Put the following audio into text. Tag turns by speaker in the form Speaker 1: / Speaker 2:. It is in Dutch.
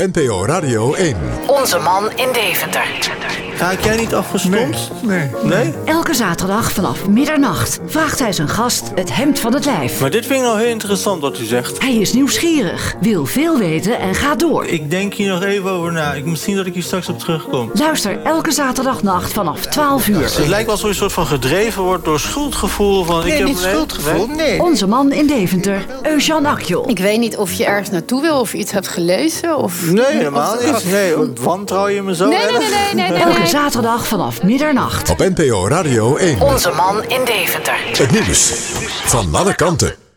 Speaker 1: NPO Radio 1.
Speaker 2: Onze man in Deventer.
Speaker 3: Raak jij niet afgestompt?
Speaker 4: Nee.
Speaker 3: Nee.
Speaker 2: Elke zaterdag vanaf middernacht vraagt hij zijn gast het hemd van het lijf.
Speaker 3: Maar dit vind ik nou heel interessant wat u zegt.
Speaker 2: Hij is nieuwsgierig, wil veel weten en gaat door.
Speaker 3: Ik denk hier nog even over na. Ik, misschien dat ik hier straks op terugkom.
Speaker 2: Luister elke zaterdagnacht vanaf 12
Speaker 3: Het
Speaker 2: uur.
Speaker 3: lijkt wel alsof je een soort van gedreven wordt door schuldgevoel. Van, ik
Speaker 5: Nee,
Speaker 3: heb
Speaker 5: niet schuldgevoel.
Speaker 3: Nee?
Speaker 5: Nee.
Speaker 2: Onze man in Deventer, Eugène Akjol.
Speaker 6: Ik weet niet of je ergens naartoe wil of je iets hebt gelezen. Of...
Speaker 3: Nee, helemaal niet. Nee, oh, wantrouw je me zo?
Speaker 6: Nee, nee,
Speaker 3: erg?
Speaker 6: nee, nee, nee, nee,
Speaker 2: Elke
Speaker 6: nee.
Speaker 2: zaterdag vanaf middernacht.
Speaker 1: Op NPO Radio 1.
Speaker 7: Onze man in Deventer.
Speaker 1: Het nieuws van alle kanten.